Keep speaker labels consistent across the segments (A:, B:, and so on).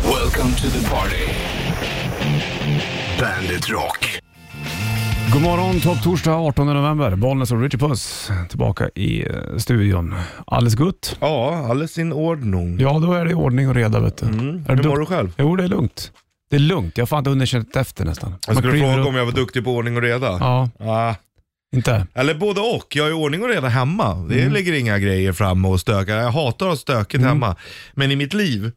A: Welcome to the party. Bandit Rock.
B: God morgon, topp torsdag 18 november. Bollnäs och Richie Puss tillbaka i eh, studion. Alldeles gott?
C: Ja, alldeles in ordning.
B: Ja, då är det ordning och reda vet du. Är
C: Mm. Hur mår
B: dukt-
C: du själv?
B: Jo, det är lugnt. Det är lugnt. Jag har fan inte hunnit känna efter nästan.
C: Jag skulle
B: kliver
C: fråga
B: upp-
C: om jag var duktig på ordning och reda.
B: Ja,
C: Ah,
B: inte?
C: eller både och. Jag är ordning och reda hemma. Det
B: Mm.
C: ligger inga grejer framme och stökar. Jag hatar att ha stökigt hemma. Men i mitt liv,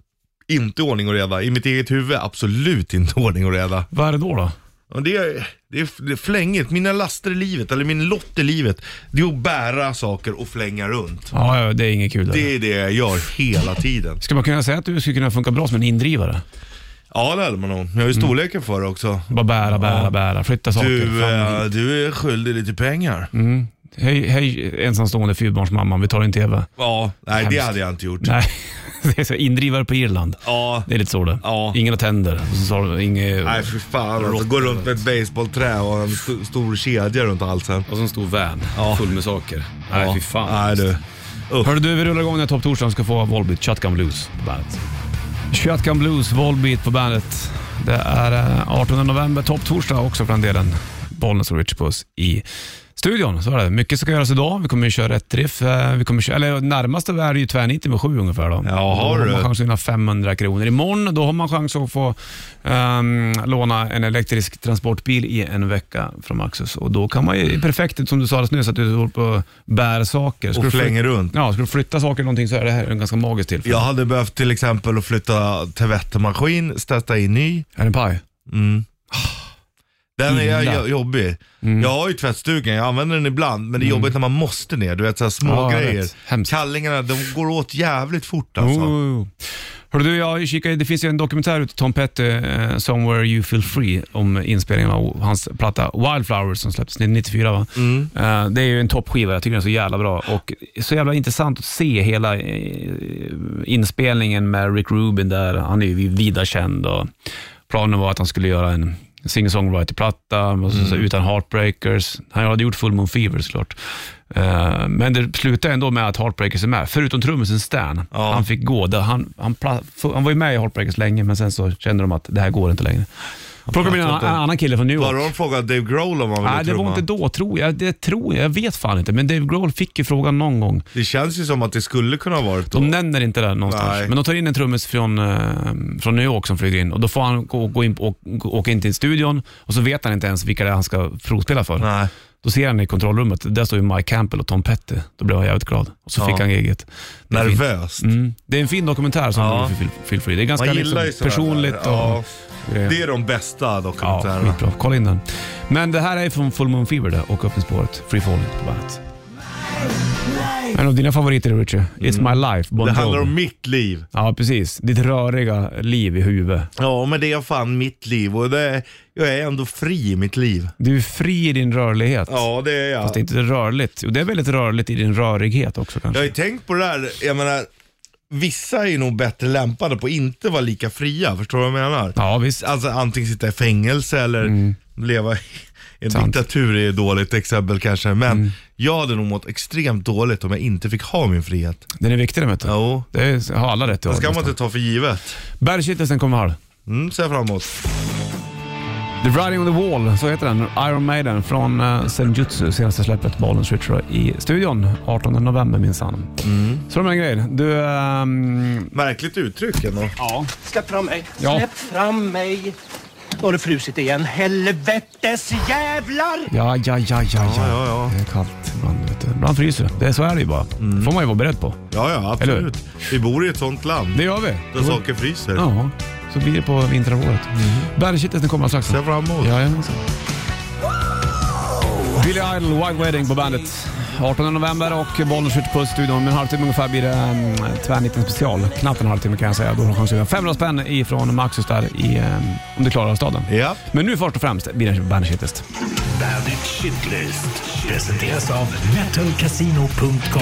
C: inte ordning och reda. I mitt eget huvud, absolut inte ordning och reda.
B: Vad är det då? då?
C: Och det, är, det, är, det är flängigt. Mina laster i livet, eller min lott i livet, det är att bära saker och flänga runt.
B: Ja, ja, det är inget kul. Det...
C: Det är det jag gör hela tiden.
B: Ska man kunna säga att du skulle kunna funka bra som en indrivare?
C: Ja, det hade man nog. Jag
B: Mm.
C: har ju storleken för det också.
B: Bara bära, bära, bära, flytta saker.
C: Du,
B: fram och
C: eh, du är skyldig lite pengar.
B: hit. Hej, hej ensamstående fyrbarnsmamman, vi tar en TV.
C: Ja, nej det
B: Hemskt.
C: hade jag inte gjort.
B: Nej, det är så indrivare på Irland.
C: Ja,
B: Det är lite så det.
C: Ja.
B: Inga tänder. Och Så sa du inget...
C: nej för fan alltså. Gå runt med ett baseballträ och en st- stor kedja runt halsen.
B: Och så en stor van full med saker. Nej,
C: Ja.
B: fy fan.
C: Nej du.
B: Hörru du, vi rullar igång den här topptorsdagen ska få Volbeat Shotgun Blues på bandet. Shotgun Blues, Volbeat på bandet. Det är eh, 18 november, topptorsdag också för den delen. Bollnäs och Rich Puss i studion. Så är det. Mycket ska göras idag. Vi kommer ju köra ett riff. eh, Vi kommer köra, eller närmast är det ju tvärnitten med sju ungefär då.
C: Ja,
B: Och
C: har
B: då har
C: du.
B: man chans att vinna 500 kronor. Imorgon då har man chans att få ehm, låna en elektrisk transportbil i en vecka från Maxus. Och då kan man ju, perfekt som du sa alldeles nyss, att du håller på och bär saker. Ska du
C: Och
B: fly-
C: flänger runt.
B: Ja, ska du flytta saker eller någonting så är det här en ganska magisk tillfälle.
C: Jag hade behövt till exempel att flytta tvättmaskin, sätta in ny.
B: Är det en paj?
C: Mm. Den är
B: Illa. Mm.
C: jag- jobbig. Jag har ju tvättstugan, jag använder den ibland, men det är jobbigt när man måste ner. Du vet såhär små
B: Ja, jag
C: grejer.
B: vet. Hemskt.
C: Kallingarna, de går åt jävligt fort alltså.
B: Alltså. Hörru du, jag kikar, det finns ju en dokumentär ute, Tom Petty, eh, Somewhere You Feel Free, om inspelningen av hans platta Wildflowers som släpptes 94 va? Eh, det är ju en toppskiva, jag tycker den är så jävla bra och så jävla intressant att se hela eh, inspelningen med Rick Rubin där, han är ju vida känd och planen var att han skulle göra en singer-songwriter-platta och så,
C: Mm.
B: så, utan Heartbreakers. Han hade gjort Full Moon Fever såklart. Eh, men det slutade ändå med att Heartbreakers är med, förutom trummisen Stan.
C: Ja.
B: Han fick gå. Där han, han, pla- f- han var ju med i Heartbreakers länge, men sen så kände de att det här går inte längre. Plockade med en
C: inte.
B: an- annan kille från New
C: Bara
B: York.
C: de frågade Dave Grohl om han ville
B: Nej, det var
C: trumma.
B: inte då tror jag. Det tror jag. Jag vet fan inte, men Dave Grohl fick ju frågan någon gång.
C: Det känns ju som att det skulle kunna ha varit då.
B: De nämner inte det någonstans,
C: Nej.
B: men de tar in en trummis från, eh, från New York som flyger in och då får han gå, gå in, och, åka in till studion och så vet han inte ens vilka det är han ska provspela för.
C: Nej.
B: Då ser han i kontrollrummet, där står ju Mike Campbell och Tom Petty. Då blev han jävligt glad och så
C: Ja.
B: fick han giget. Det är fint.
C: Nervöst.
B: Mm. Det är en fin dokumentär som
C: Ja.
B: ja. Feel, feel Free. Det är ganska
C: Man
B: liksom
C: gillar ju sådana
B: personligt
C: där. Ja,
B: och grejer.
C: Det är de bästa
B: ja,
C: dokumentärerna.
B: skitbra. Kolla in den. Men det här är från Full Moon Fever det, och öppningsspåret Free Falling på bandet. En av dina favoriter Richie, It's My Life, Bon
C: Mm. det handlar
B: Jovi.
C: om mitt liv.
B: Ja, precis. Ditt röriga liv i huvudet.
C: Ja, men det är fan mitt liv och det är, jag är ändå fri i mitt liv.
B: Du är fri i din rörlighet.
C: Ja, det är jag.
B: Fast det är inte rörligt. Och det är väldigt rörligt i din rörighet också kanske.
C: Jag har ju tänkt på det här, jag menar, vissa är ju nog bättre lämpade på att inte vara lika fria, förstår du vad jag menar?
B: Ja, visst.
C: Alltså antingen sitta i fängelse eller leva i en
B: Mm. Sant. Mm.
C: diktatur är ett dåligt exempel kanske, men jag hade nog mått extremt dåligt om jag inte fick ha min frihet.
B: Den är viktig den vet du.
C: Jo,
B: Det är, har alla rätt
C: det
B: att
C: ska
B: ha
C: man
B: nästan.
C: inte ta för givet.
B: Bergkittelsen kommer halv.
C: Mm, ser jag fram emot.
B: The Riding on the Wall, så heter den. Iron Maiden från uh, Senjutsu, senaste släppet, Balens Ritual i studion. 18 november minsann.
C: Mm.
B: Så de här grejer. Du, ehm,
C: Märkligt uttryck ändå.
D: Släpp fram mig.
B: Ja.
D: Släpp fram mig. Nu har det frusit igen. Helvetes jävlar!
B: ja, ja, ja, ja, ja,
C: ja, ja. Mm.
B: Det är kallt ibland, vet du. Ibland fryser det. det. är- Så är det ju bara. får man ju vara beredd på.
C: Ja, ja,
B: Eller hur?
C: absolut. Vi bor i ett sånt land
B: Det gör vi.
C: där saker fryser.
B: Ja, så blir det på vinterhalvåret. Mm. Bergkittelsen kommer alldeles
C: Ser jag
B: strax.
C: fram emot.
B: Jajamensan. Billy Idol, White Wedding på bandet. 18 november och Bollnäs skjuter på studion. Om en halvtimme ungefär blir det um, tvärnitten special. Knappt en halvtimme kan jag säga. Då har du chans att vinna 500 spänn ifrån Maxus där i, um, om du klarar av staden.
C: Ja.
B: Men nu först och främst blir det Bandit Shitlist.
A: Bandit Shitlist. Presenteras av metalcasino.com.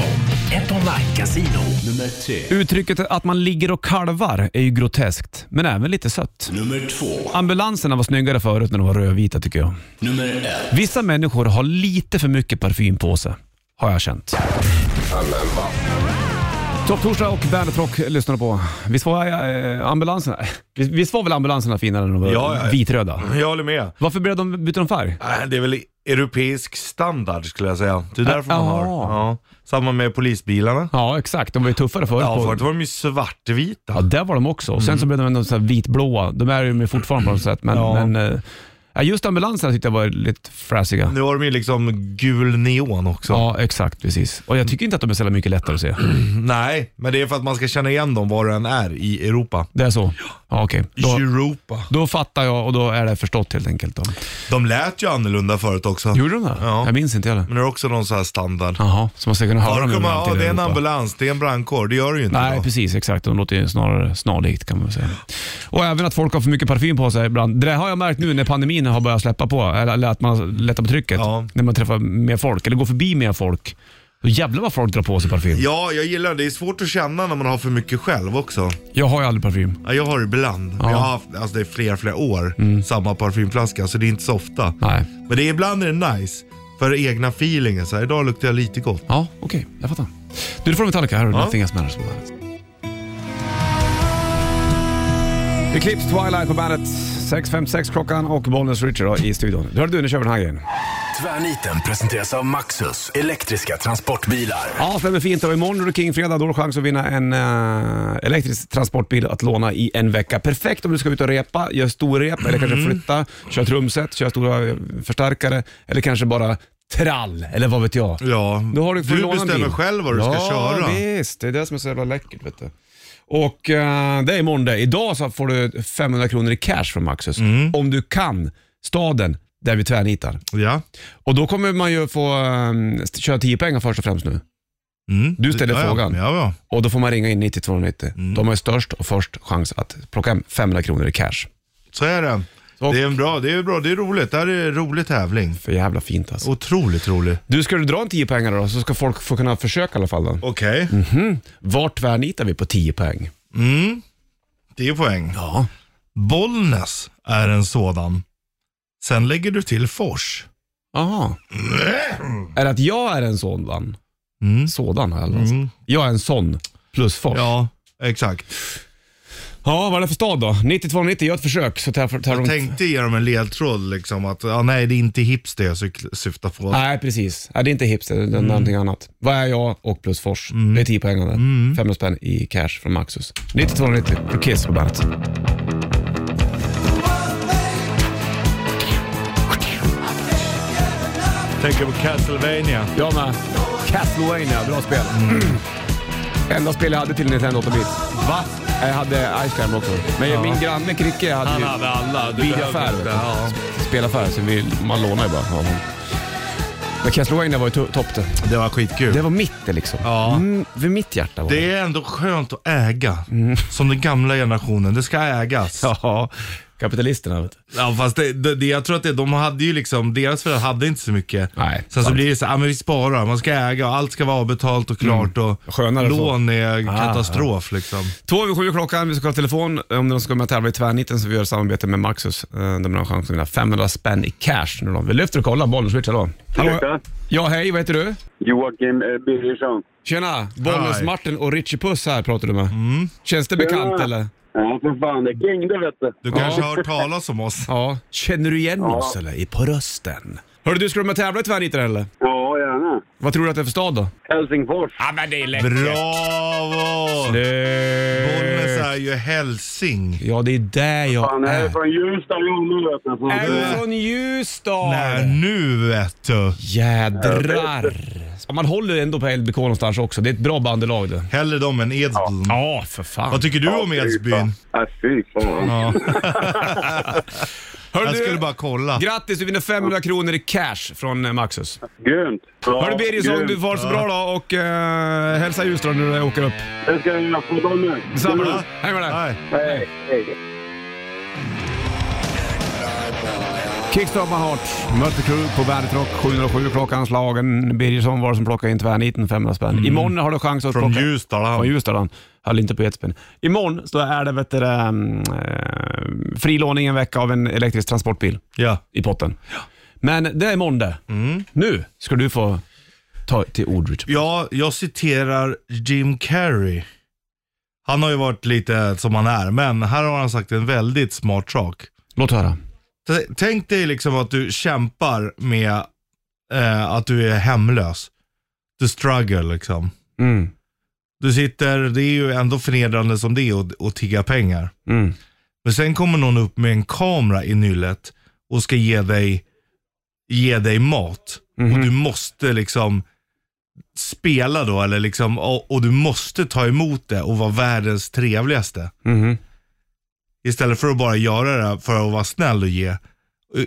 A: Ett online-casino. Nummer tre.
B: Uttrycket att man ligger och kalvar är ju groteskt, men även lite sött.
A: Nummer två.
B: Ambulanserna var snyggare förut när de var rödvita tycker jag.
A: Nummer ett.
B: Vissa människor har lite för mycket parfym på sig, har jag känt. Topptorsdag och Bandet Rock lyssnar du på. Visst var eh, ambulanserna, visst, visst var väl ambulanserna finare när de var
C: Ja, ja.
B: vitröda?
C: Jag håller med.
B: Varför blev de, bytte de färg?
C: Äh, Det är väl europeisk standard skulle jag säga. Det är därför man har.
B: Jaha.
C: Ja. Samma med polisbilarna.
B: Ja, exakt. De var ju tuffare förut.
C: Ja,
B: på-
C: förut var de ju svartvita.
B: Ja, där var de också. Och Sen så blev de ändå så här vitblåa. De är ju med fortfarande på något sätt, men,
C: Ja.
B: men eh, ja, just ambulanserna tyckte jag var lite fräsiga.
C: Nu har de ju liksom gul neon också.
B: Ja, exakt. Precis. Och jag tycker inte att de är så jävla mycket lättare att se.
C: Nej, men det är för att man ska känna igen dem var den är i Europa.
B: Det är så? Ja, okej. Då,
C: Europa.
B: då fattar jag och då är det förstått helt enkelt. Då.
C: De lät ju annorlunda förut också.
B: Gjorde de det?
C: Ja.
B: Jag minns inte heller.
C: Men det är också någon sån här standard.
B: Jaha, så man ska kunna höra
C: Ja,
B: dem
C: det, kommer,
B: överallt i
C: ja, det är en
B: Europa.
C: ambulans, det är en brandkår. Det gör det ju inte
B: Nej,
C: idag.
B: precis. Exakt. De låter ju snarare snarlikt kan man väl säga. Och även att folk har för mycket parfym på sig ibland. Det där har jag märkt nu när pandemin har börjat släppa på, eller, eller att man lättar på trycket.
C: Ja.
B: När man träffar mer folk, eller går förbi mer folk. Då jävlar vad folk drar på sig parfym.
C: Ja, jag gillar det. Det är svårt att känna när man har för mycket själv också.
B: Jag har ju aldrig parfym.
C: Ja, jag har det ibland. Men jag har haft, alltså det är flera, flera år.
B: Mm.
C: Samma parfymflaska, så det är inte så ofta.
B: Nej.
C: Men det är, ibland är det nice. För egna feelingen. Så här, idag luktar jag lite gott.
B: Ja, okej. Jag fattar. Du, du får Metallica. Här har du
C: Ja.
B: Nothing Else Matters på bandet. Eclipse Twilight på bandet. 6.56 klockan och Bollnäs Richard då, i studion. Hör du, nu kör vi den här grejen.
A: Tvärniten presenteras av Maxus. Elektriska transportbilar.
B: Ja, stämmer fint. Och imorgon är det Kingfredag. Då har du chans att vinna en eh, elektrisk transportbil att låna i en vecka. Perfekt om du ska ut och repa, göra storrep eller kanske flytta, köra trumset, köra stora eh, förstärkare eller kanske bara trall eller vad vet jag.
C: Ja,
B: Då har du, får
C: du
B: låna en
C: bestämmer
B: bil.
C: själv vad du ska
B: ja,
C: köra.
B: visst. Det är det som är så jävla läckert. Vet du. Och eh, det är imorgon det. Idag så får du 500 kronor i cash från Maxus
C: Mm.
B: om du kan staden där vi tvärnitar.
C: Ja.
B: Och då kommer man ju få um, köra 10 pengar först och främst nu.
C: Mm.
B: Du ställer
C: ja, ja.
B: frågan.
C: Ja, ja.
B: Och då får man ringa in 9290.
C: Mm.
B: De har störst och först chans att plocka hem 500 kronor i cash.
C: Så är det.
B: Och-
C: Det är en bra, det är bra, det är roligt. Det här är en rolig tävling.
B: För jävla fint alltså.
C: Otroligt rolig.
B: Du, ska du dra en 10 pengar då så ska folk få kunna försöka i alla fall. Då.
C: Okej,
B: Vart tvärnitar vi på 10 poäng?
C: Mm. det är poäng.
B: Ja.
C: Bollnäs är en sådan. Sen lägger du till Fors.
B: Aha. Är det att jag är en sådan?
C: Mm.
B: Sådan eller mm. Jag är en sån plus fors. Ja.
C: Ja, exakt.
B: vad är det för stad då? 9290, gör ett försök så tar, tar de...
C: Jag tänkte ge dem en ledtråd liksom att, ja, nej det är inte hips det jag syk- syftar på.
B: Nej, precis. Nej, det är inte hipster, det är någonting annat. Vad är jag och plus Fors? Det är 10 poäng av det. 500 spänn i cash från Maxus. 9290 för Kiss på bandet.
C: Tänker på Castlevania.
B: Jag med. Castlevania, bra spel. Enda spel jag hade till Nintendo 8-bit. Mm. Va? Jag hade Ice Climb också. Men min granne Kricke hade ju
C: alla.
B: bilaffär. vet du. Spelaffär, så vi, man lånar ju bara. Ja. Men Castlevania var ju to- topp det.
C: Det var skitkul.
B: Det
C: Det,
B: var mitt det liksom.
C: Ja.
B: Mm, vid mitt hjärta var det.
C: är ändå skönt att äga. Som den gamla generationen. Det ska ägas.
B: Mm. Ja, kapitalisterna vet du.
C: Ja, fast det, det, det, jag tror att det, de hade ju liksom, deras föräldrar hade inte så mycket.
B: Nej,
C: Sen så
B: sant.
C: blir det så ja men vi sparar, man ska äga och allt ska vara avbetalt och klart och
B: Mm. Skönare så.
C: lån är
B: Ah,
C: katastrof liksom.
B: Två över sju är klockan, vi ska kolla telefon. Om någon ska med och tävla i tvärniten så vi gör samarbete med Maxus. eh, Där man har chans att vinna 500 spänn i cash. Nu då. Vi lyfter och kollar, bollen switchar då.
E: Ursäkta?
B: Ja, hej, vad heter du?
E: Joakim eh, Birgersson.
B: Tjena, Bollens
C: Hej.
B: Martin och Richie Puss här pratar du med. Känns det bekant
E: Tjena.
B: eller?
E: Ja, för fan. Det kingde, vet du.
C: Du kanske har hört talas om oss?
B: Ja. Känner du igen oss eller? I på rösten? Hörru du, ska du med och tävla i tvärniten eller?
E: Ja, gärna.
B: Vad tror du att det är för stad då?
E: Helsingfors.
B: Ja men det är läckert.
C: Bravo! Bollnäs är ju hälsing.
B: Ja, det är där
E: Fan,
B: jag
E: jag är
B: är.
E: från Ljusdal, Jonna, vet du.
B: Är
E: Fan,
B: du från Ljusdal?
C: Nej, nu vet du.
B: Jädrar! Ja, Man håller ändå på LBK någonstans också. Det är ett bra bandelag det.
C: Hellre dem än Edsbyn.
B: Ja, för fan.
C: Vad tycker du om Edsbyn?
E: Nej, fy fan.
B: Hör
C: Jag
B: du,
C: skulle bara kolla.
B: Grattis, du vinner 500 kronor i cash från eh, Maxus.
E: Grymt. Ja,
B: Hörru Birgersson,
E: grymt.
B: du får ha det så bra då och eh, hälsa Ljusdal nu när du åker upp.
E: Det ska jag göra. Få dem nu.
B: Detsamma.
E: Grymt.
B: Hej med dig.
C: Nej.
E: Hej, hej.
B: Kickstart My Heart, möter crew på Bandet Rock 707 klockan slagen. Birgersson var det som plockade in tvärniten, 500 spänn. Imorgon har du chans att
C: Från
B: plocka...
C: Ljusdal
B: Från
C: han.
B: Ljusdal han. Höll inte på Edsbyn. Imorgon så är det vet du, det, mm, eh, frilåning en vecka av en elektrisk transportbil.
C: Ja.
B: i potten. Men det är måndag. Nu ska du få ta till ordet.
C: Ja, jag citerar Jim Carrey. Han har ju varit lite som han är, men här har han sagt en väldigt smart sak.
B: Låt höra.
C: T- Tänk dig liksom att du kämpar med eh, att du är hemlös. Du struggle liksom.
B: Mm.
C: Du sitter, det är ju ändå förnedrande som det är att, att tigga pengar.
B: Mm.
C: Men sen kommer någon upp med en kamera i nyllet och ska ge dig, ge dig mat. Och du måste liksom spela då, eller liksom, och, och du måste ta emot det och vara världens trevligaste.
B: Mhm.
C: Istället för att bara göra det för att vara snäll och ge.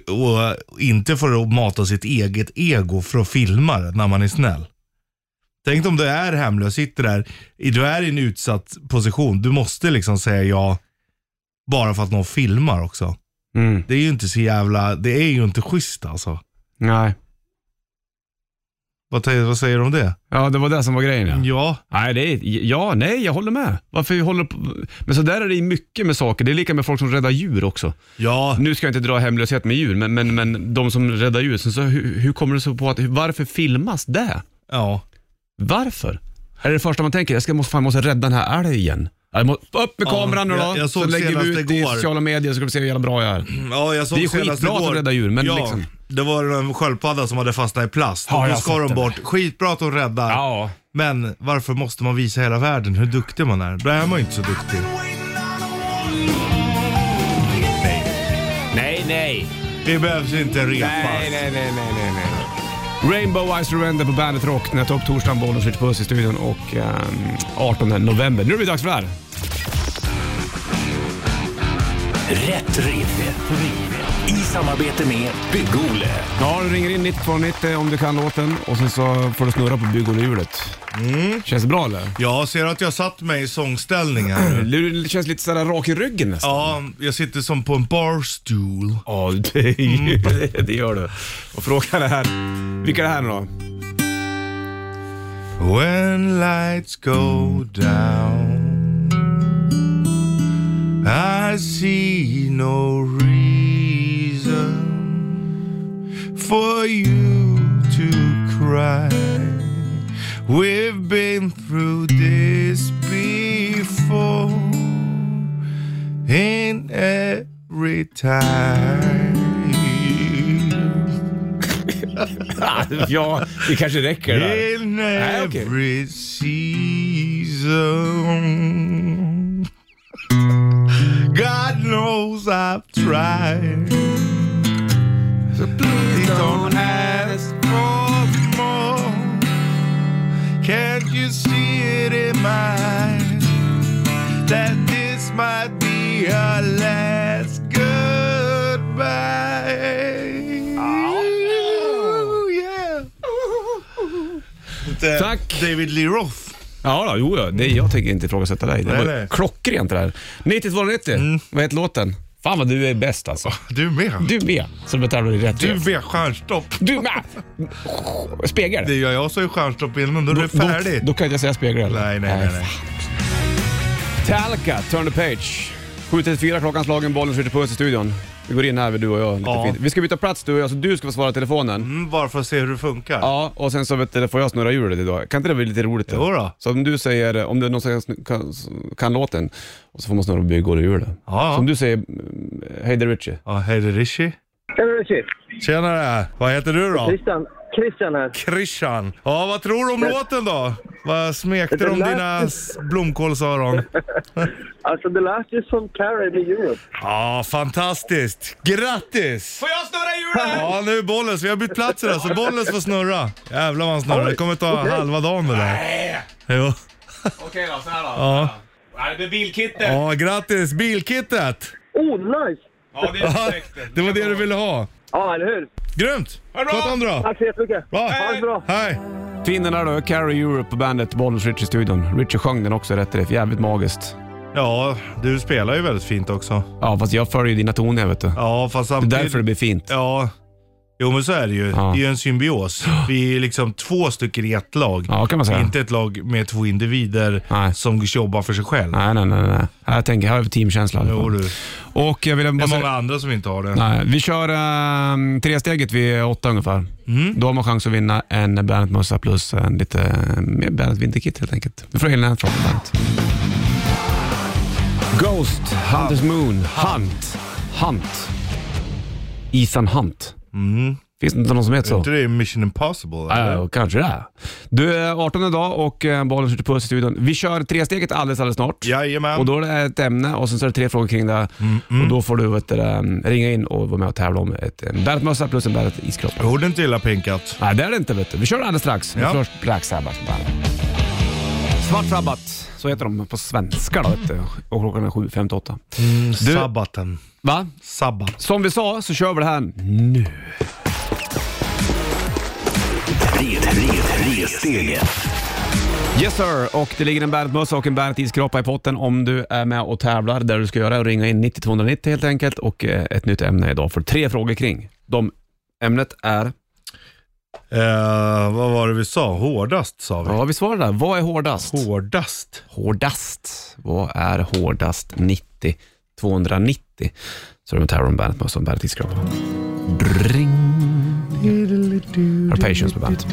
C: Och, och inte för att mata sitt eget ego för att filma det när man är snäll. Tänk om du är hemlös, sitter där, i- du är i en utsatt position. Du måste liksom säga ja bara för att någon filmar också.
B: Mm.
C: Det är ju inte så jävla, det är ju inte schysst alltså.
B: Nej.
C: Vad, tä- vad säger du om det?
B: Ja, det var det som var grejen ja.
C: Ja,
B: Nej, det är, ja, nej, jag håller med. Varför vi håller på? Men så där är det i mycket med saker. Det är lika med folk som räddar djur också.
C: ja,
B: Nu ska jag inte dra hemlöshet med djur, men, men, men de som räddar djur. Sen så, hur, hur kommer det sig på att, varför filmas det?
C: ja.
B: Varför? Är det det första man tänker? Jag ska, måste, fan, måste rädda den här älgen. Jag må, upp med
C: Ja,
B: kameran nu då,
C: jag- jag
B: så
C: såg
B: lägger vi
C: senast
B: ut det i
C: igår.
B: sociala medier så ska vi se hur jävla bra jag är.
C: Ja, jag såg
B: Det är
C: senast
B: skitbra att
C: igår-
B: de räddar djur, men
C: ja,
B: liksom-
C: Det var en sköldpadda som hade fastnat i plast.
B: Ja,
C: och nu
B: jag
C: ska
B: har sett
C: de
B: det.
C: bort. Skitbra att de räddar.
B: Ja.
C: Men varför måste man visa hela världen hur duktig man är? Då är man ju inte så duktig.
B: Nej, nej.
C: Det behövs inte en repa.
B: nej, nej, nej, nej. Rainbow I Surrender på Bandet Rock. Den här tar upp torsdagen, Bollnäs Ritch Puss i studion och ehm, 18 november. Nu är det dags för det här.
A: Rätt riff. I samarbete med Bygg-Ole.
B: Ja, du ringer in 9290 om du kan låten och sen så får du snurra på bygghjulet. Mm. Känns det bra eller?
C: Jag ser att jag satt mig i sångställning här.
B: Du känns lite sådär rak i ryggen nästan.
C: Ja, jag sitter som på en barstool.
B: Ja, det, Mm. det gör du. Och frågan är, vilka är det här nu då?
C: When lights go down, I see no reason for you to cry. We've been through this before, in every time.
B: Ja, det kanske räcker där.
C: In
B: Nej, okej.
C: every season God knows I've tried So please don't ask for more Can't you see it in my eyes That this might be our last goodbye yeah. Inte
B: Tack.
C: David Lee Roth.
B: Ja, då, jo, ja. det, jag tänker inte ifrågasätta dig. Det
C: Nej,
B: var
C: nej. Mm.
B: klockrent det där. 9290, vad heter låten? Fan vad du är bäst alltså.
C: Du med.
B: Du med, som betalar i rätt
C: Du
B: riff.
C: med stjärnstopp.
B: du med! Spegel.
C: Det gör jag, så är stjärnstopp innan. Då är det
B: Då-
C: färdigt.
B: Då, då kan jag inte säga spegel heller.
C: Nej, nej, nej. nej.
B: Talca, turn the page. 7.34 klockan slagen, bollen skjuter puss i studion. Vi går in här du och jag lite
C: Ja.
B: fint. Vi ska byta plats du och jag, så du ska få svara i telefonen.
C: Mm, bara för att se hur det funkar.
B: Ja, och sen så vet du, får jag snurra hjulet idag. Kan inte det bli lite roligt?
C: Jo då.
B: Så om du säger, om det är någon som kan, kan låten, och så får man snurra på bygghjulet.
C: Ja.
B: Så om du säger, mm, hej det är Richie.
C: Ja, hej det är Rishi.
F: Tjena shit.
C: Tjenare! Vad heter du då?
F: Christian, Christian här.
C: Christian. Ja, vad tror du om låten då? Vad smekte de
F: Det
C: om
F: lät-
C: dina s- blomkålsöron?
F: Alltså det lät ju som Carrie med Europe.
C: Ja, fantastiskt. Grattis!
B: Får jag snurra hjulet?
C: Ja, nu är Bollens. Vi har bytt platser där, så Bollens får snurra. Jävlar vad han snurrar. Det kommer ta halva dagen det där. Jo.
B: Okej då, så här då.
C: Ja.
B: Ja, det blir bilkittet.
C: Ja, grattis! Bilkittet!
F: Oh, nice!
B: Ja, det
C: Ja, det var det du ville ha.
F: Ja, eller hur?
C: Grymt!
B: bra!
C: Sköt om då.
F: Tack så jättemycket.
C: Bra.
F: Ha det bra.
C: Hej!
B: Finnen där då, Carrie Europe på bandet, Bollens Richie i studion. Richie sjöng den också rätt i det, jävligt magiskt.
C: Ja, du spelar ju väldigt fint också.
B: Ja, fast jag följer ju dina toner vet du.
C: Ja, fast
B: Det är
C: samtidigt...
B: därför det blir fint.
C: Ja. Jo men så är det ju.
B: Ja.
C: Det är ju en symbios. Vi är liksom två stycken i ett lag.
B: Ja, kan man säga.
C: Inte ett lag med två individer
B: Nej.
C: som jobbar för sig själv.
B: Nej, nej, nej. nej. Här tänker jag, här har vi teamkänsla. i alla fall.
C: Jo, du. Det
B: Och jag vill bara
C: är många
B: säga,
C: andra som inte har det.
B: Alltså- nej, vi kör äh, tresteget vid åtta ungefär.
C: Mm.
B: Då har man chans att vinna en Bandet-mössa plus en lite eh, mer Bandet Vinterkit helt enkelt. Vi får in från Bandet. Ghost, Hunters Moon, Hunt, Hunt. Ethan Hunt. Finns det inte någon som heter
C: Är
B: så?
C: Mm. inte det Mission Impossible? eller?
B: Ja, kanske det. Du, är 18 idag och eh, bollen skjuter puss i studion. Vi kör tresteget alldeles, alldeles snart.
C: Jajamän.
B: Och då är det ett ämne och sen så är det tre frågor kring det. Och då får du vet, du, um, ringa in och vara med och tävla om ett, en bärtmössa plus en bäret iskropp.
C: Jag borde inte illa pinkat.
B: Nej, det är det inte vet du. Vi kör det alldeles strax.
C: Ja.
B: Men först Black Sabbath på bandet. Svart Sabbat, så heter de på svenska då vet du. Och klockan är 7.58. Du-
C: Sabbaten.
B: Va?
C: Sabbat.
B: Som vi sa så kör vi det här nu.
A: Red, red, ressteget.
B: Yes sir! Och det ligger en Bandet-mössa och en Bandet-iskroppa i potten om du är med och tävlar. Där du ska göra är att ringa in 9290 helt enkelt och eh, ett nytt ämne idag för tre frågor kring. De, ämnet är
C: Eh, vad var det vi sa? Hårdast sa vi.
B: Ja, vi svarar där. Vad är hårdast?
C: Hårdast.
B: Hårdast. Vad är hårdast 90? 290. Så är det Taron Bandet med oss som Bandet i skrapa. Dring. Här är Patience på bandet.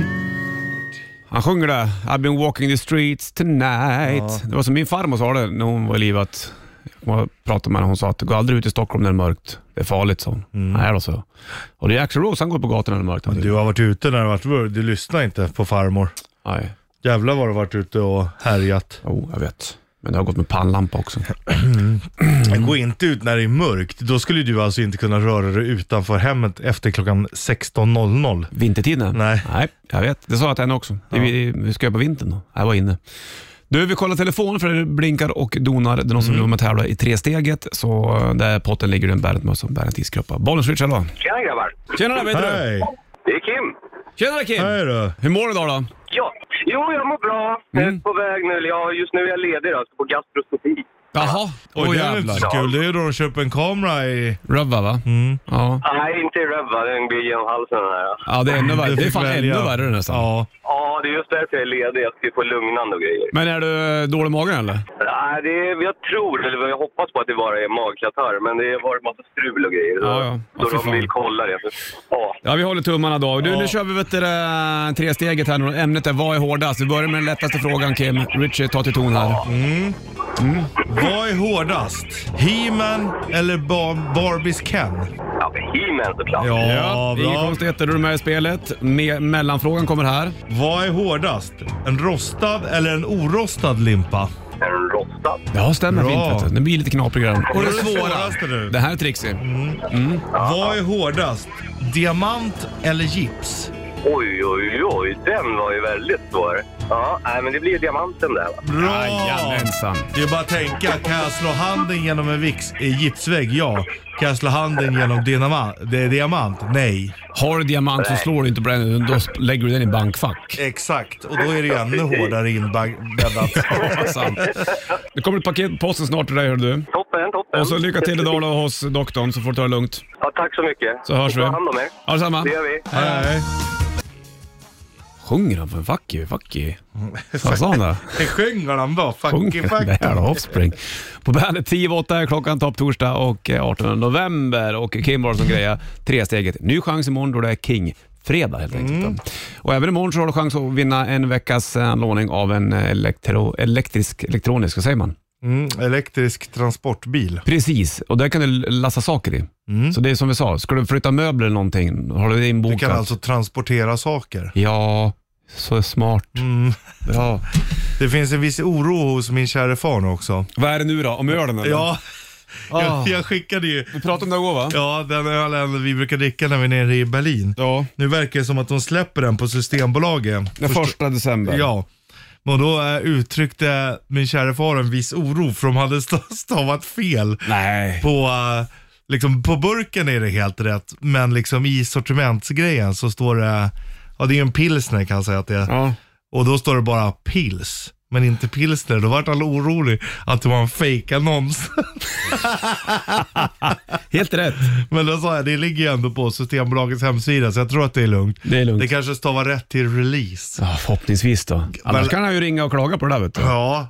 B: Han sjunger där. I've been walking the streets tonight. Det var som min farmor sa det när hon var i livet. Jag pratade med henne hon sa att gå aldrig ut i Stockholm när det är mörkt. Det är farligt, sa hon. Nej då, så. Och det är Axl Rose, han går på gatorna när det är mörkt.
C: Du har varit ute när det har varit Du lyssnar inte på farmor.
B: Nej.
C: Jävlar vad du har varit ute och härjat.
B: Jo, jag vet. Men det har gått med pannlampa också. Mm.
C: Gå inte ut när det är mörkt. Då skulle du alltså inte kunna röra dig utanför hemmet efter klockan 16.00.
B: Vintertiden?
C: Nej.
B: Nej, jag vet. Det sa jag till henne också. Det- Vi, vi ska göra på vintern då. Jag var inne. Du, vi kollar telefonen för det blinkar och donar. Det är någon
C: Mm.
B: som vill vara med och tävla i tresteget. Så eh, där i potten ligger det en Bandet-mössa och en Bandet-iskroppa. Bollen switchar då.
G: Tjena grabbar!
B: Tjenare, vet du?
C: Hej!
G: Det är Kim.
B: Tjenare Kim!
C: Hej då!
B: Hur mår du idag då?
G: Ja, jo jag mår bra. Jag är
B: Mm.
G: på väg nu, eller ja, just nu är jag ledig då, så på gastroskopi.
B: Jaha, åh
C: Oj, det är inte
B: jävlar.
C: så kul. Det är då de köper en kamera i...
B: Röva va?
C: Mm.
B: Ja.
G: Nej, inte i Röv va? den blir genom halsen den här.
B: ja, det är ännu värre.
C: Du
B: Det är
C: fick
B: fan
C: välja.
B: ännu värre nästan.
C: Ja.
G: Ja, det är just därför jag är ledig. Jag ska ju få lugnande och grejer.
B: Men är du eh, dålig i magen eller?
G: Nej, det är, jag tror, eller jag hoppas på att det bara är magkatarr, men det har varit massa strul och grejer. Så,
B: Ja, ja. Ja,
G: så
B: fy
G: de
B: fan.
G: vill kolla det. Ja.
B: Ja, vi håller tummarna då. Du,
C: Ja.
B: Nu kör vi vet du, det, tre steget här. nu. Ämnet är vad är hårdast? Vi börjar med den lättaste frågan Kim. Richie, ta till ton här.
C: Vad är hårdast? He-Man eller Bar- Barbies Ken?
G: ja, men He-Man såklart.
C: Ja,
B: Ja, inga
C: bra.
B: konstigheter. Då är du med i spelet. Me- mellanfrågan kommer här.
C: Vad är hårdast? En rostad eller en orostad limpa?
G: En rostad.
B: Ja, stämmer
C: Bra.
B: fint. Vet du. Det blir lite knaprigare. Och det svåra.
C: svåraste nu.
B: Det här är trixigt.
C: Vad är hårdast? Diamant eller gips?
G: Oj, oj, oj. Den var ju väldigt svår. Ja, nej, men det blir ju diamanten där va?
C: Bra!
B: Jajamensan.
C: Det är bara att tänka, kan jag slå handen genom en vix, eh, gipsvägg? Ja. Kan jag slå handen genom dinama, det är diamant? Nej.
B: Har du diamant så slår du inte på den. Då sp- lägger du den i bankfack.
C: Exakt, och då är det ju ännu hårdare inbäddat.
B: Vad sant. Det kommer ett paket på posten snart till dig hör du.
G: Toppen, toppen.
B: Och så lycka till idag då hos doktorn så får du ta det lugnt.
G: Ja, tack så mycket.
B: Så hörs vi.
G: Ta hand om er.
B: Ha detsamma.
G: Det gör vi.
C: Nej,
B: Sjunger han för en fuck you, fuck you? Vad sa han där?
C: det sjunger han bara.
B: Sjung.
C: Fucky fuck.
B: Det här är Offspring. På bandet 10 över 8 är klockan topptorsdag och eh, 18 november. Och Kim var det som grejade tresteget. Ny chans imorgon då det är King. Fredag helt enkelt.
C: Mm.
B: Och även imorgon så har du chans att vinna en veckas eh, låning av en eh, elektro, elektrisk, elektronisk, vad säger man?
C: Mm, elektrisk transportbil.
B: Precis, och där kan du l- lassa saker i. Så det är som vi sa, ska du flytta möbler eller någonting, har du det
C: Mm. Du
B: inbokat?
C: kan alltså transportera saker.
B: Ja, så smart.
C: Mm.
B: Bra.
C: Det finns en viss oro hos min käre far nu också.
B: Vad är det nu då? Om ölen eller?
C: Ja,
B: Ah.
C: jag, jag skickade ju.
B: Vi pratade om det igår va?
C: Ja, den ölen vi brukar dricka när vi är nere i Berlin.
B: Ja.
C: Nu verkar det som att de släpper den på Systembolaget.
B: Den första december.
C: Ja. Men då eh, uttryckte min kära far en viss oro för de hade st- stavat fel.
B: Nej.
C: På, eh, liksom, på burken är det helt rätt, men liksom i sortimentsgrejen så står det, ja det är ju en pilsner kan jag säga att det är.
B: Ja.
C: Och då står det bara pils. men inte pilsner. Då vart han orolig att det var en fejkannons.
B: Helt rätt.
C: Men då sa jag, det ligger ju ändå på Systembolagets hemsida så jag tror att det är lugnt.
B: Det är lugnt.
C: Det kanske stavar rätt till release.
B: Ja, förhoppningsvis då. Annars kan han ju ringa och klaga på det där vet du.
C: Ja,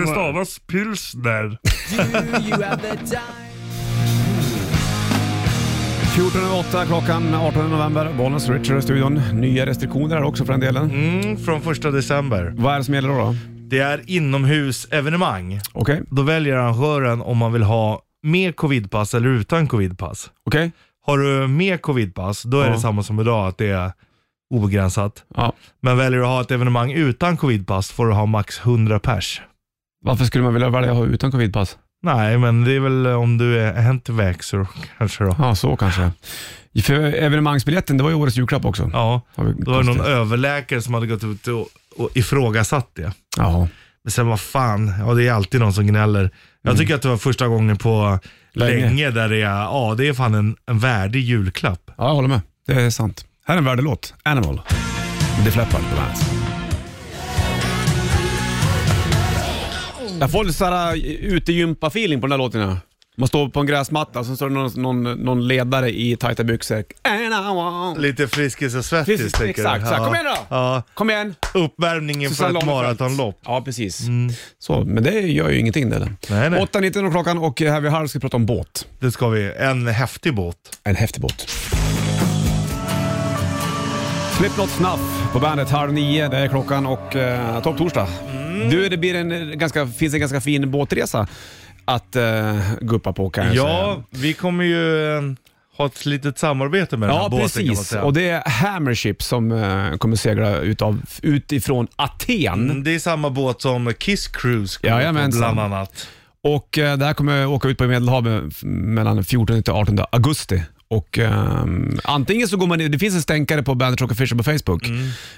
C: det stavas pilsner.
B: 14.08 klockan 18 november. Bollnäs Richard i studion. Nya restriktioner här också för den delen.
C: Mm, från första december.
B: Vad är det som gäller då? då?
C: Det är inomhusevenemang.
B: Okej,
C: Då väljer arrangören om man vill ha med covidpass eller utan covidpass.
B: okej.
C: Har du med covidpass, då är
B: Ja.
C: det samma som idag, att det är obegränsat.
B: Ja.
C: Men väljer du att ha ett evenemang utan covidpass får du ha max 100 pers.
B: Varför skulle man vilja välja att ha utan covidpass?
C: Nej, men det är väl om du är antivaxxer kanske då.
B: Ja, så kanske. För evenemangsbiljetten, det var ju årets julklapp också.
C: Ja,
B: Har vi
C: då var det någon
B: konstigt.
C: överläkare som hade gått ut och, och ifrågasatt det.
B: Jaha.
C: Men sen vad fan, ja det är alltid någon som gnäller. Jag tycker att det var första gången på
B: Länge.
C: Mm. länge, där det är, ja det är fan en, en värdig julklapp.
B: Ja, jag håller med. Det är sant. Här är en värdelåt. Animal. Det fläppar på bandet. Jag får lite eh, såhär utegympa-feeling på den här låten. Ja. Man står på en gräsmatta och så står det någon, någon, någon ledare i tajta byxor. And I want...
C: Lite Friskis och Svettis
B: Precis,
C: tänker
B: exakt.
C: du.
B: Så här,
C: Ja.
B: kom igen då!
C: Ja,
B: Kom igen!
C: uppvärmningen för ett
B: Lagerfeld.
C: maratonlopp. Mm.
B: Ja, precis. Så, men det gör ju ingenting det. eller?
C: Nej, nej.
B: 8.19 är klockan och här vid halv ska vi prata om båt.
C: Det ska vi. En häftig båt.
B: En häftig båt. Slipknot Snuff på bandet halv nio, det är klockan och eh, topp torsdag.
C: Mm.
B: Du, det blir en, eh, ganska, finns en ganska fin båtresa att eh, guppa på kan jag säga.
C: Ja, vi kommer ju eh, ha ett litet samarbete med den
B: Ja,
C: här båten kan man
B: precis.
C: säga.
B: Och det är Hammership som eh, kommer segla utav, utifrån Aten.
C: Mm, det är samma båt som Kiss Cruise kommer på
B: Jajamensan.
C: bland annat.
B: Och eh, det här kommer jag åka ut på i Medelhavet f- mellan 14 till 18 augusti. Och ehm, Antingen så går man in- det finns en stänkare på Bandit Rock Official på Facebook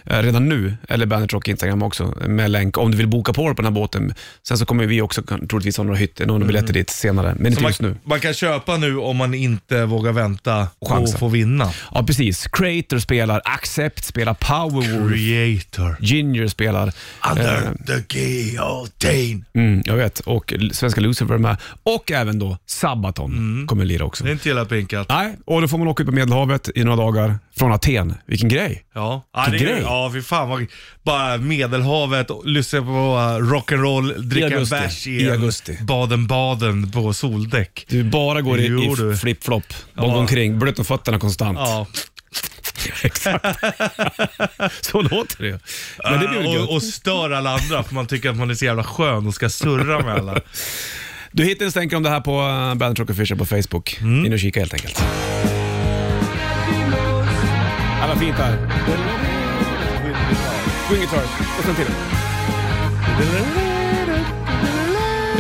B: eh, redan nu, eller Bandit Rock Instagram också, med länk om du vill boka på dig på den här båten. Sen så kommer vi också kan- troligtvis ha några hytter, några biljetter dit senare, men inte
C: Så man,
B: just nu.
C: man kan köpa nu om man inte vågar vänta
B: Chansa.
C: och få vinna.
B: Ja, precis. Creator spelar, Accept spelar, Powerwolf,
C: Creator.
B: Ginger spelar. eh,
C: Under the guillotine.
B: mm, jag vet. Och L- Svenska Lucifer är med. Och även då Sabaton kommer lira också.
C: Det är inte illa pinkat.
B: Nej, och då får man åka ut på Medelhavet i några dagar från Aten. Vilken grej!
C: Ja, ja, det
B: Vilken
C: är,
B: grej.
C: ja fy fan vad, Bara Medelhavet, och lyssna på eh, rock'n'roll, dricka en
B: augusti.
C: bärs
B: I
C: en
B: augusti.
C: Baden-Baden på soldäck.
B: Du bara går i,
C: Jo,
B: i
C: du.
B: flip-flop, bara
C: Ja.
B: går omkring, blöt om fötterna konstant.
C: Ja.
B: Exakt. Så låter det ju. Men det blir väl
C: Äh,
B: gött.
C: och, och stör alla andra för man tycker att man är så jävla skön och ska surra med alla.
B: Du hittar en stänk om det här på eh, Bandit Rock Fisher på Facebook. In och kika helt enkelt. Ja, vad fint där. Swing guitar. Och sen till.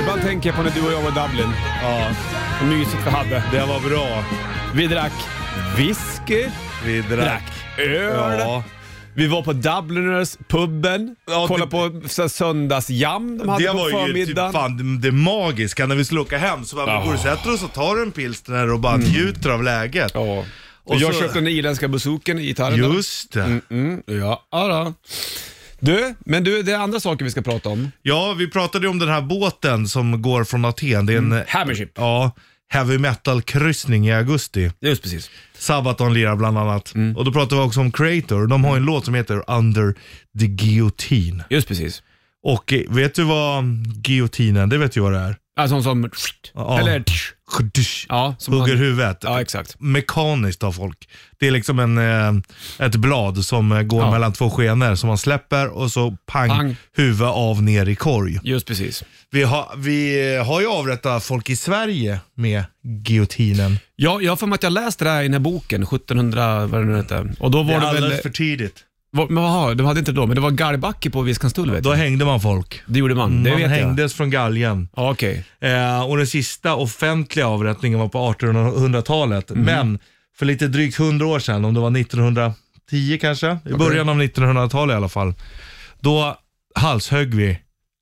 B: Ibland tänker jag på när du och jag var i Dublin.
C: Ja,
B: Och mysigt vi hade.
C: det var bra.
B: Vi drack whisky,
C: Vi
B: drack
C: drack.
B: öl.
C: Ja.
B: Vi var på Dubliners, puben,
C: Ja,
B: kollade på så här söndagsjam de hade
C: Det
B: på
C: var ju typ
B: förmiddagen.
C: fan det, det magiska när vi skulle åka hem. Så bara,
B: Ja. Mm.
C: oh. går du och sätter oss och tar en pilsner och bara njuter av läget.
B: ja. Och
C: Och
B: jag
C: så-
B: köpte den irländska bazooken i gitarren.
C: Just det.
B: Mm, ja, ja då. Du, men du, det är andra saker vi ska prata om.
C: Ja, vi pratade ju om den här båten som går från Aten. Det är
B: Mm.
C: en
B: Hammership.
C: ja, heavy metal-kryssning i augusti.
B: Just precis.
C: Sabaton lirar bland annat.
B: Mm.
C: Och då pratade vi också om Creator. De har ju en låt som heter Under the Guillotine.
B: Just precis.
C: Och eh, vet du vad guillotinen, det vet ju vad det är.
B: Ja, sån Alltså, som...
C: Ja.
B: Eller... Ja, som
C: Hugger
B: man,
C: huvudet.
B: ja, exakt.
C: Mekaniskt av folk. Det är liksom en, eh, ett blad som eh, går
B: Ja.
C: mellan två skenor som man släpper och så pang,
B: Pang.
C: huvud av ner i korg.
B: Just precis.
C: Vi har, vi har ju avrättat folk i Sverige med guillotinen.
B: Ja, jag har för mig att jag läste det här i den här boken, 1700, vad det nu heter. Och då
C: Det är
B: var det,
C: alldeles
B: väl...
C: för tidigt.
B: Var, men jaha, de hade inte det då, men det var galgbacke på Viskanstull vet
C: Då
B: jag.
C: hängde man folk.
B: Det gjorde man, det
C: man
B: vet jag.
C: hängdes från galgen.
B: Ja, okej.
C: Eh, och den sista offentliga avrättningen var på 1800-talet.
B: Mhm.
C: Men för lite drygt 100 år sedan, om det var 1910 kanske, i början av 1900-talet i alla fall, då halshögg vi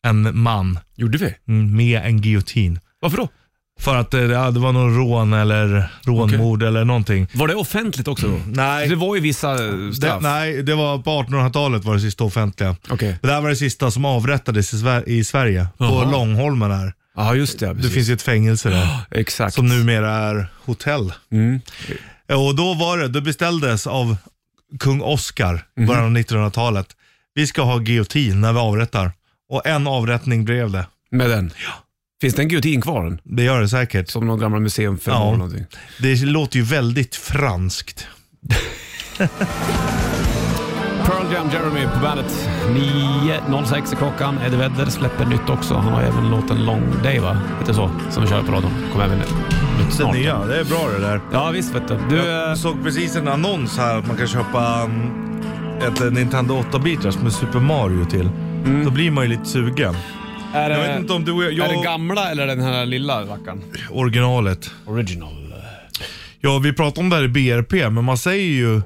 C: en man
B: Gjorde vi?
C: mm, med en guillotine.
B: Varför då?
C: För att eh, ja, det var någon rån eller rånmord eller någonting.
B: Var det offentligt också då?
C: Nej.
B: Det var ju vissa
C: Mm.
B: eh,
C: Det,
B: straff.
C: nej, det var på 1800-talet var det sista offentliga.
B: Okej.
C: Det här var det sista som avrättades i, Sver- i Sverige. På
B: Jaha.
C: Långholmen här.
B: Ja, just det. ja,
C: Det
B: Precis.
C: finns ju ett fängelse där.
B: Exakt.
C: Som numera är hotell.
B: Mm.
C: Och då var det, det beställdes av kung Oscar i
B: Mhm.
C: början av 1900-talet. Vi ska ha guillotine när vi avrättar. Och en avrättning blev det.
B: Med den. Finns det en giljotin kvar? än?
C: Det gör det säkert.
B: Som någon gammal museumfilm
C: Ja.
B: eller någonting.
C: Det låter ju väldigt franskt.
B: Pearl Jam Jeremy på bandet. 9.06 är klockan. Eddie Vedder släpper nytt också. Han har även låten Long Day, va? Heter så? Som vi kör på radion. Kommer även nytt
C: Det
B: snart.
C: nya, det är bra det där.
B: Ja, visst vet du. du eh,
C: Jag såg precis en annons här att man kan köpa mm, ett eh, Nintendo 8-bitars med Super Mario till. Då blir man ju lite sugen.
B: är,
C: Jag
B: Mm. det-
C: vet inte om du och jag...
B: är det
C: jag
B: gamla eller den här lilla rackaren?
C: originalet.
B: Original.
C: Ja, vi pratade om det här i BRP, men man säger ju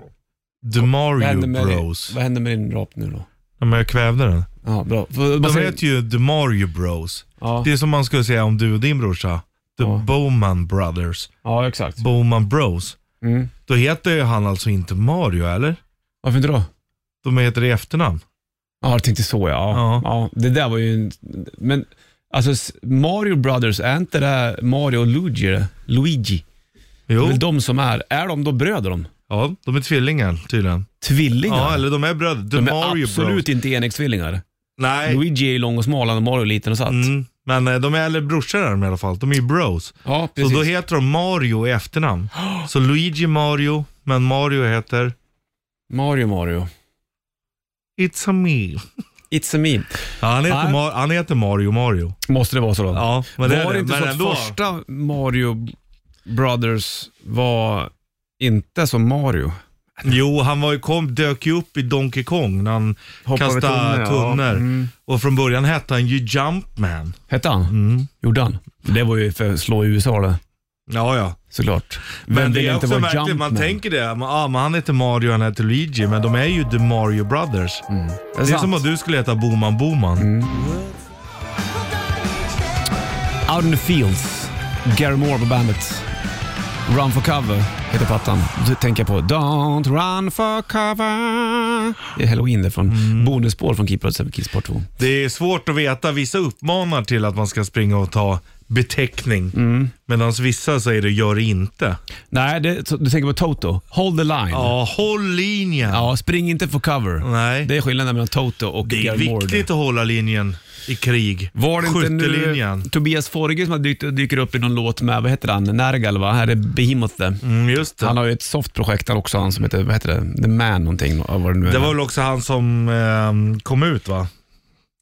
C: The
B: Vad
C: Mario
B: händer med,
C: Bros.
B: vad händer med din rap nu då?
C: Ja, men jag kvävde den.
B: Ja, bra. För,
C: De
B: vad säger-
C: heter ju The Mario Bros.
B: ja.
C: Det är som man skulle säga om du och din brorsa. The
B: Ja.
C: Bowman Brothers.
B: ja, exakt.
C: Bowman Bros.
B: Mm.
C: Då heter ju han alltså inte Mario, eller?
B: Varför inte då?
C: De heter det i efternamn.
B: Ja, jag tänkte så ja.
C: Ja.
B: ja. det där var ju en... Men alltså s- Mario Brothers, är inte det Mario och Luigi? det? Luigi? Det är
C: Jo,
B: väl de som är... Är de då bröder de?
C: ja, de är tvillingar tydligen.
B: Tvillingar?
C: Ja, eller de är bröder. The
B: de är
C: Mario
B: absolut
C: Bros.
B: inte enäggstvillingar.
C: Nej,
B: Luigi är lång och smal och Mario är liten och satt.
C: mm, men eh, de är eller brorsor är de i alla fall. De är ju bros.
B: Ja,
C: Så
B: precis.
C: då heter de Mario i efternamn. Så Luigi Mario, men Mario heter
B: Mario Mario.
C: It's a me.
B: It's a me.
C: Ja, han, heter
B: Nej.
C: Mar- han heter Mario Mario.
B: Måste det vara så då?
C: Ja, men det
B: var
C: är
B: det
C: det.
B: inte så
C: Men
B: att
C: ändå.
B: första Mario Brothers var inte som Mario?
C: Jo, han var ju, kom, dök ju upp i Donkey Kong när han
B: Hoppade
C: kastade
B: tunnor, ja. Mm.
C: tunnor. Och från början hette han ju Jumpman.
B: Hette han?
C: Mm.
B: Gjorde han? Det var ju för att slå i USA det.
C: Ja, ja.
B: Såklart. Vem
C: Men det
B: vill
C: är
B: inte
C: också
B: vara
C: märkligt, man
B: Jumpman?
C: tänker det. Man, ah, men han heter Mario, han heter Luigi, men de är ju The Mario Brothers.
B: Mm. Det är,
C: Det är som
B: sant.
C: att du skulle heta Boman Boman.
B: Out in the fields. Gary Moore på bandet. Run for cover heter plattan. Då tänker jag på Don't run for cover. Det är halloween det från
C: Mm.
B: bonusspår från Keep Roots över Kiss Part 2.
C: Det är svårt att veta. Vissa uppmanar till att man ska springa och ta beteckning. Medan vissa säger det, gör det inte.
B: Nej, det, så- du tänker på Toto. Hold the line. Ja.
C: Ja, håll linjen.
B: spring inte for cover.
C: Nej.
B: Det är skillnaden mellan Toto och
C: Det är
B: Gary Moore.
C: viktigt att hålla linjen i krig.
B: Var det inte
C: Skyttelinjen.
B: nu Tobias Forge som har dykt, dyker upp i någon låt med, vad heter han, Nergal va? Här är Behemoth det.
C: Mm, just det.
B: Han har ju ett softprojekt där också, han som heter, vad heter det, The Man någonting. Vad var det, nu är.
C: Det var väl också han som eh, kom ut va?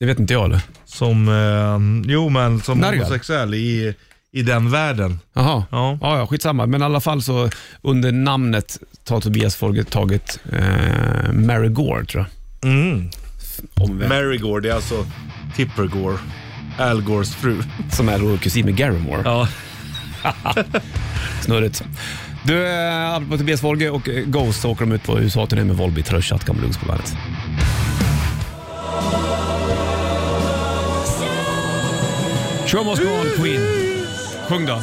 B: det vet inte jag eller?
C: Som, eh, jo men som
B: Nergal.
C: homosexuell i, i den världen.
B: Jaha.
C: Ja.
B: Ja, ja, skitsamma. Men i alla fall så under namnet tar Tobias Forge tagit eh, Mary Gore tror
C: Mm.
B: jag. Om vem,
C: Mary Gore, det är alltså Tipper Gore. Al Gores fru.
B: som är då kusin med Gary Moore.
C: Ja.
B: Snurrigt. Du, eh, apropå Tobias Forge och eh, Ghost så åker de ut på USA-turné med Volbeat, Rössat, Gamla Lungs på bandet. Show must go on, Queen. Sjung då.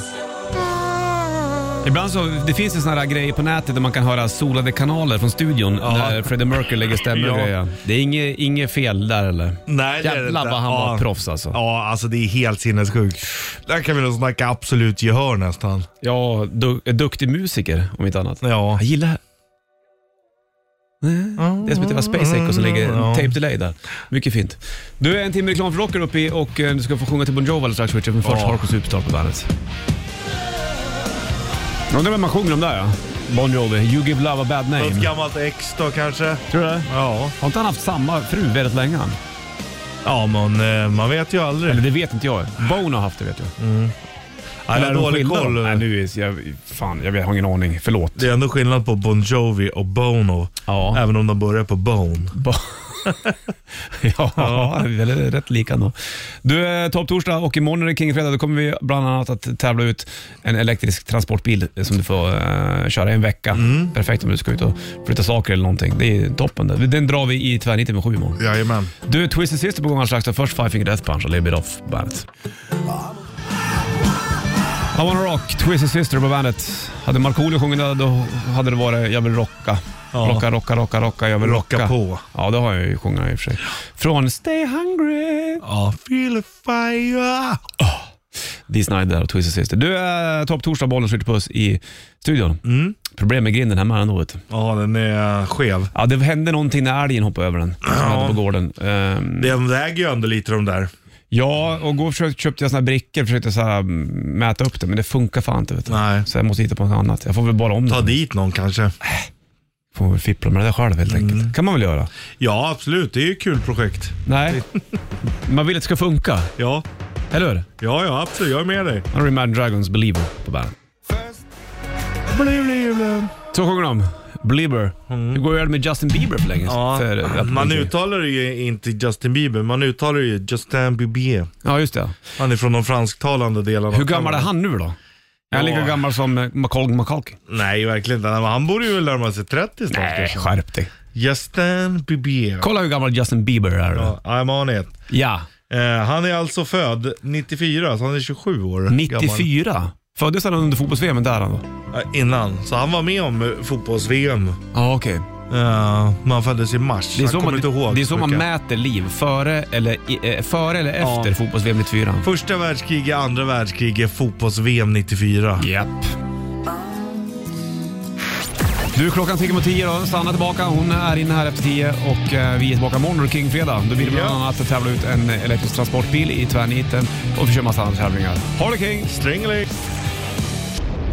B: Ibland så, det finns ju såna här grejer på nätet där man kan höra solade kanaler från studion när Freddie Mercury lägger stämmor och
C: Ja.
B: grejer. Det är inget, inget fel där eller?
C: Nej, det är det
B: Jävlar
C: inte.
B: vad han var
C: Ja.
B: proffs alltså.
C: Ja, alltså det är helt sinnessjukt. Där kan vi nog snacka absolut gehör nästan.
B: Ja, du, eh, duktig musiker om inte annat.
C: Ja.
B: Jag gillar... Det är som att det var Space Echo som ligger
C: Mm, Ja.
B: tape delay där. Mycket fint. Du är en timme reklam för rocken uppe i och eh, du ska få sjunga till Bon Jovi alldeles strax Richard, men först
C: Ja.
B: Hardcore Superstar på bandet. Jag undrar vem man sjunger om där ja. Bon Jovi, You Give Love a Bad Name.
C: Något gammalt ex då kanske?
B: Tror du det?
C: Ja.
B: Har inte han haft samma fru väldigt länge? han?
C: Ja, men eh, man vet ju aldrig.
B: Eller det vet inte jag. Bono har haft det vet jag.
C: Ja, det är
B: de
C: dålig
B: skilda då?
C: koll.
B: Nej, nu är jag... Fan, jag vet- har ingen aning. Förlåt.
C: Det är ändå skillnad på Bon Jovi och Bono.
B: Ja.
C: Även om de börjar på Bone.
B: Ba- ja, vi är väl rätt lika ändå. Du, eh, Topp Torsdag och imorgon är det King Fredag. Då kommer vi bland annat att tävla ut en elektrisk transportbil som du får eh, köra i en vecka. Perfekt om du ska ut och flytta saker eller någonting. Det är toppen. Det. Den drar vi i tvärniten med sju imorgon.
C: Jajamän.
B: Du, Twisted Sister på gång alldeles strax. Först Five Finger Death Punch och Little Bit Off Bandet. I wanna rock, Twisted Sister på bandet. Hade Markoolio sjungit det, då hade det varit Jag vill rocka.
C: Ja.
B: Rocka, rocka, rocka, rocka, jag vill rocka.
C: Rocka på.
B: Ja, det har jag ju sjungit i och för sig. Från Stay Hungry.
C: Ja, feel the fire.
B: Dee Snider och Twisted Sister. Du, är topp torsdag, bollen skjuter puss i studion.
C: Mm.
B: Problem med grinden hemma ändå. vet du.
C: Ja, den är skev.
B: Ja, det hände någonting när älgen hoppade över den. Som jag hade på gården. Ehm,
C: De väger ju ändå lite de där.
B: Ja, och går och försökte, köpte jag såna här brickor och försökte så här, mm, mäta upp det, men det funkar fan inte. Vet du.
C: Nej.
B: Så jag måste hitta på något annat. Jag får väl bara om
C: Ta
B: det.
C: dit någon kanske.
B: Får väl fippla med det där själv helt
C: Mm.
B: enkelt. kan man väl göra.
C: Ja, absolut. Det är ju ett kul projekt.
B: Nej, man vill att det ska funka.
C: Ja,
B: Eller hur?
C: ja, ja absolut. Jag är med dig.
B: Han har Mad Dragons Believer på bandet.
C: Bli, bli, bli.
B: Så sjunger de. Believer. Hur går det med Justin Bieber för länge
C: Mm. Ja,
B: för, eh,
C: man uttalar det ju inte Justin Bieber, man uttalar det ju Justin Bieber.
B: Ja, just det.
C: Han är från de fransktalande delarna.
B: Hur gammal är han nu då? Är han
C: Ja.
B: lika gammal som eh, Macaulay Macaulay?
C: Nej, verkligen inte. Han borde ju väl närma sig 30 snart. kanske.
B: skärp dig.
C: Justin Bieber.
B: Kolla hur gammal Justin Bieber är då.
C: Ja, I'm on it.
B: Ja,
C: Eh, han är alltså född 94, så han är 27 år
B: 94. Föddes han under fotbolls-VM där han då?
C: gammal. Eh, innan. Så han var med om eh, fotbolls-VM.
B: Ja, okej.
C: Eh, man föddes i mars.
B: Det är
C: han
B: så,
C: kommer
B: man,
C: inte ihåg.
B: det är så man
C: mycket.
B: mäter liv. Före eller, i, eh, före eller
C: Ja.
B: efter fotbolls-VM 94.
C: Första världskriget, andra världskriget, fotbolls-VM 94.
B: Japp. Du, klockan tickar mot tio då. Sanna är tillbaka. Hon är inne här efter tio och eh, vi är tillbaka imorgon. Då är det King-fredag. Då blir det bland
C: Ja.
B: annat att tävla ut en elektrisk transportbil i tvärniten och vi kör massa andra tävlingar. Ha det King!
C: Strängling.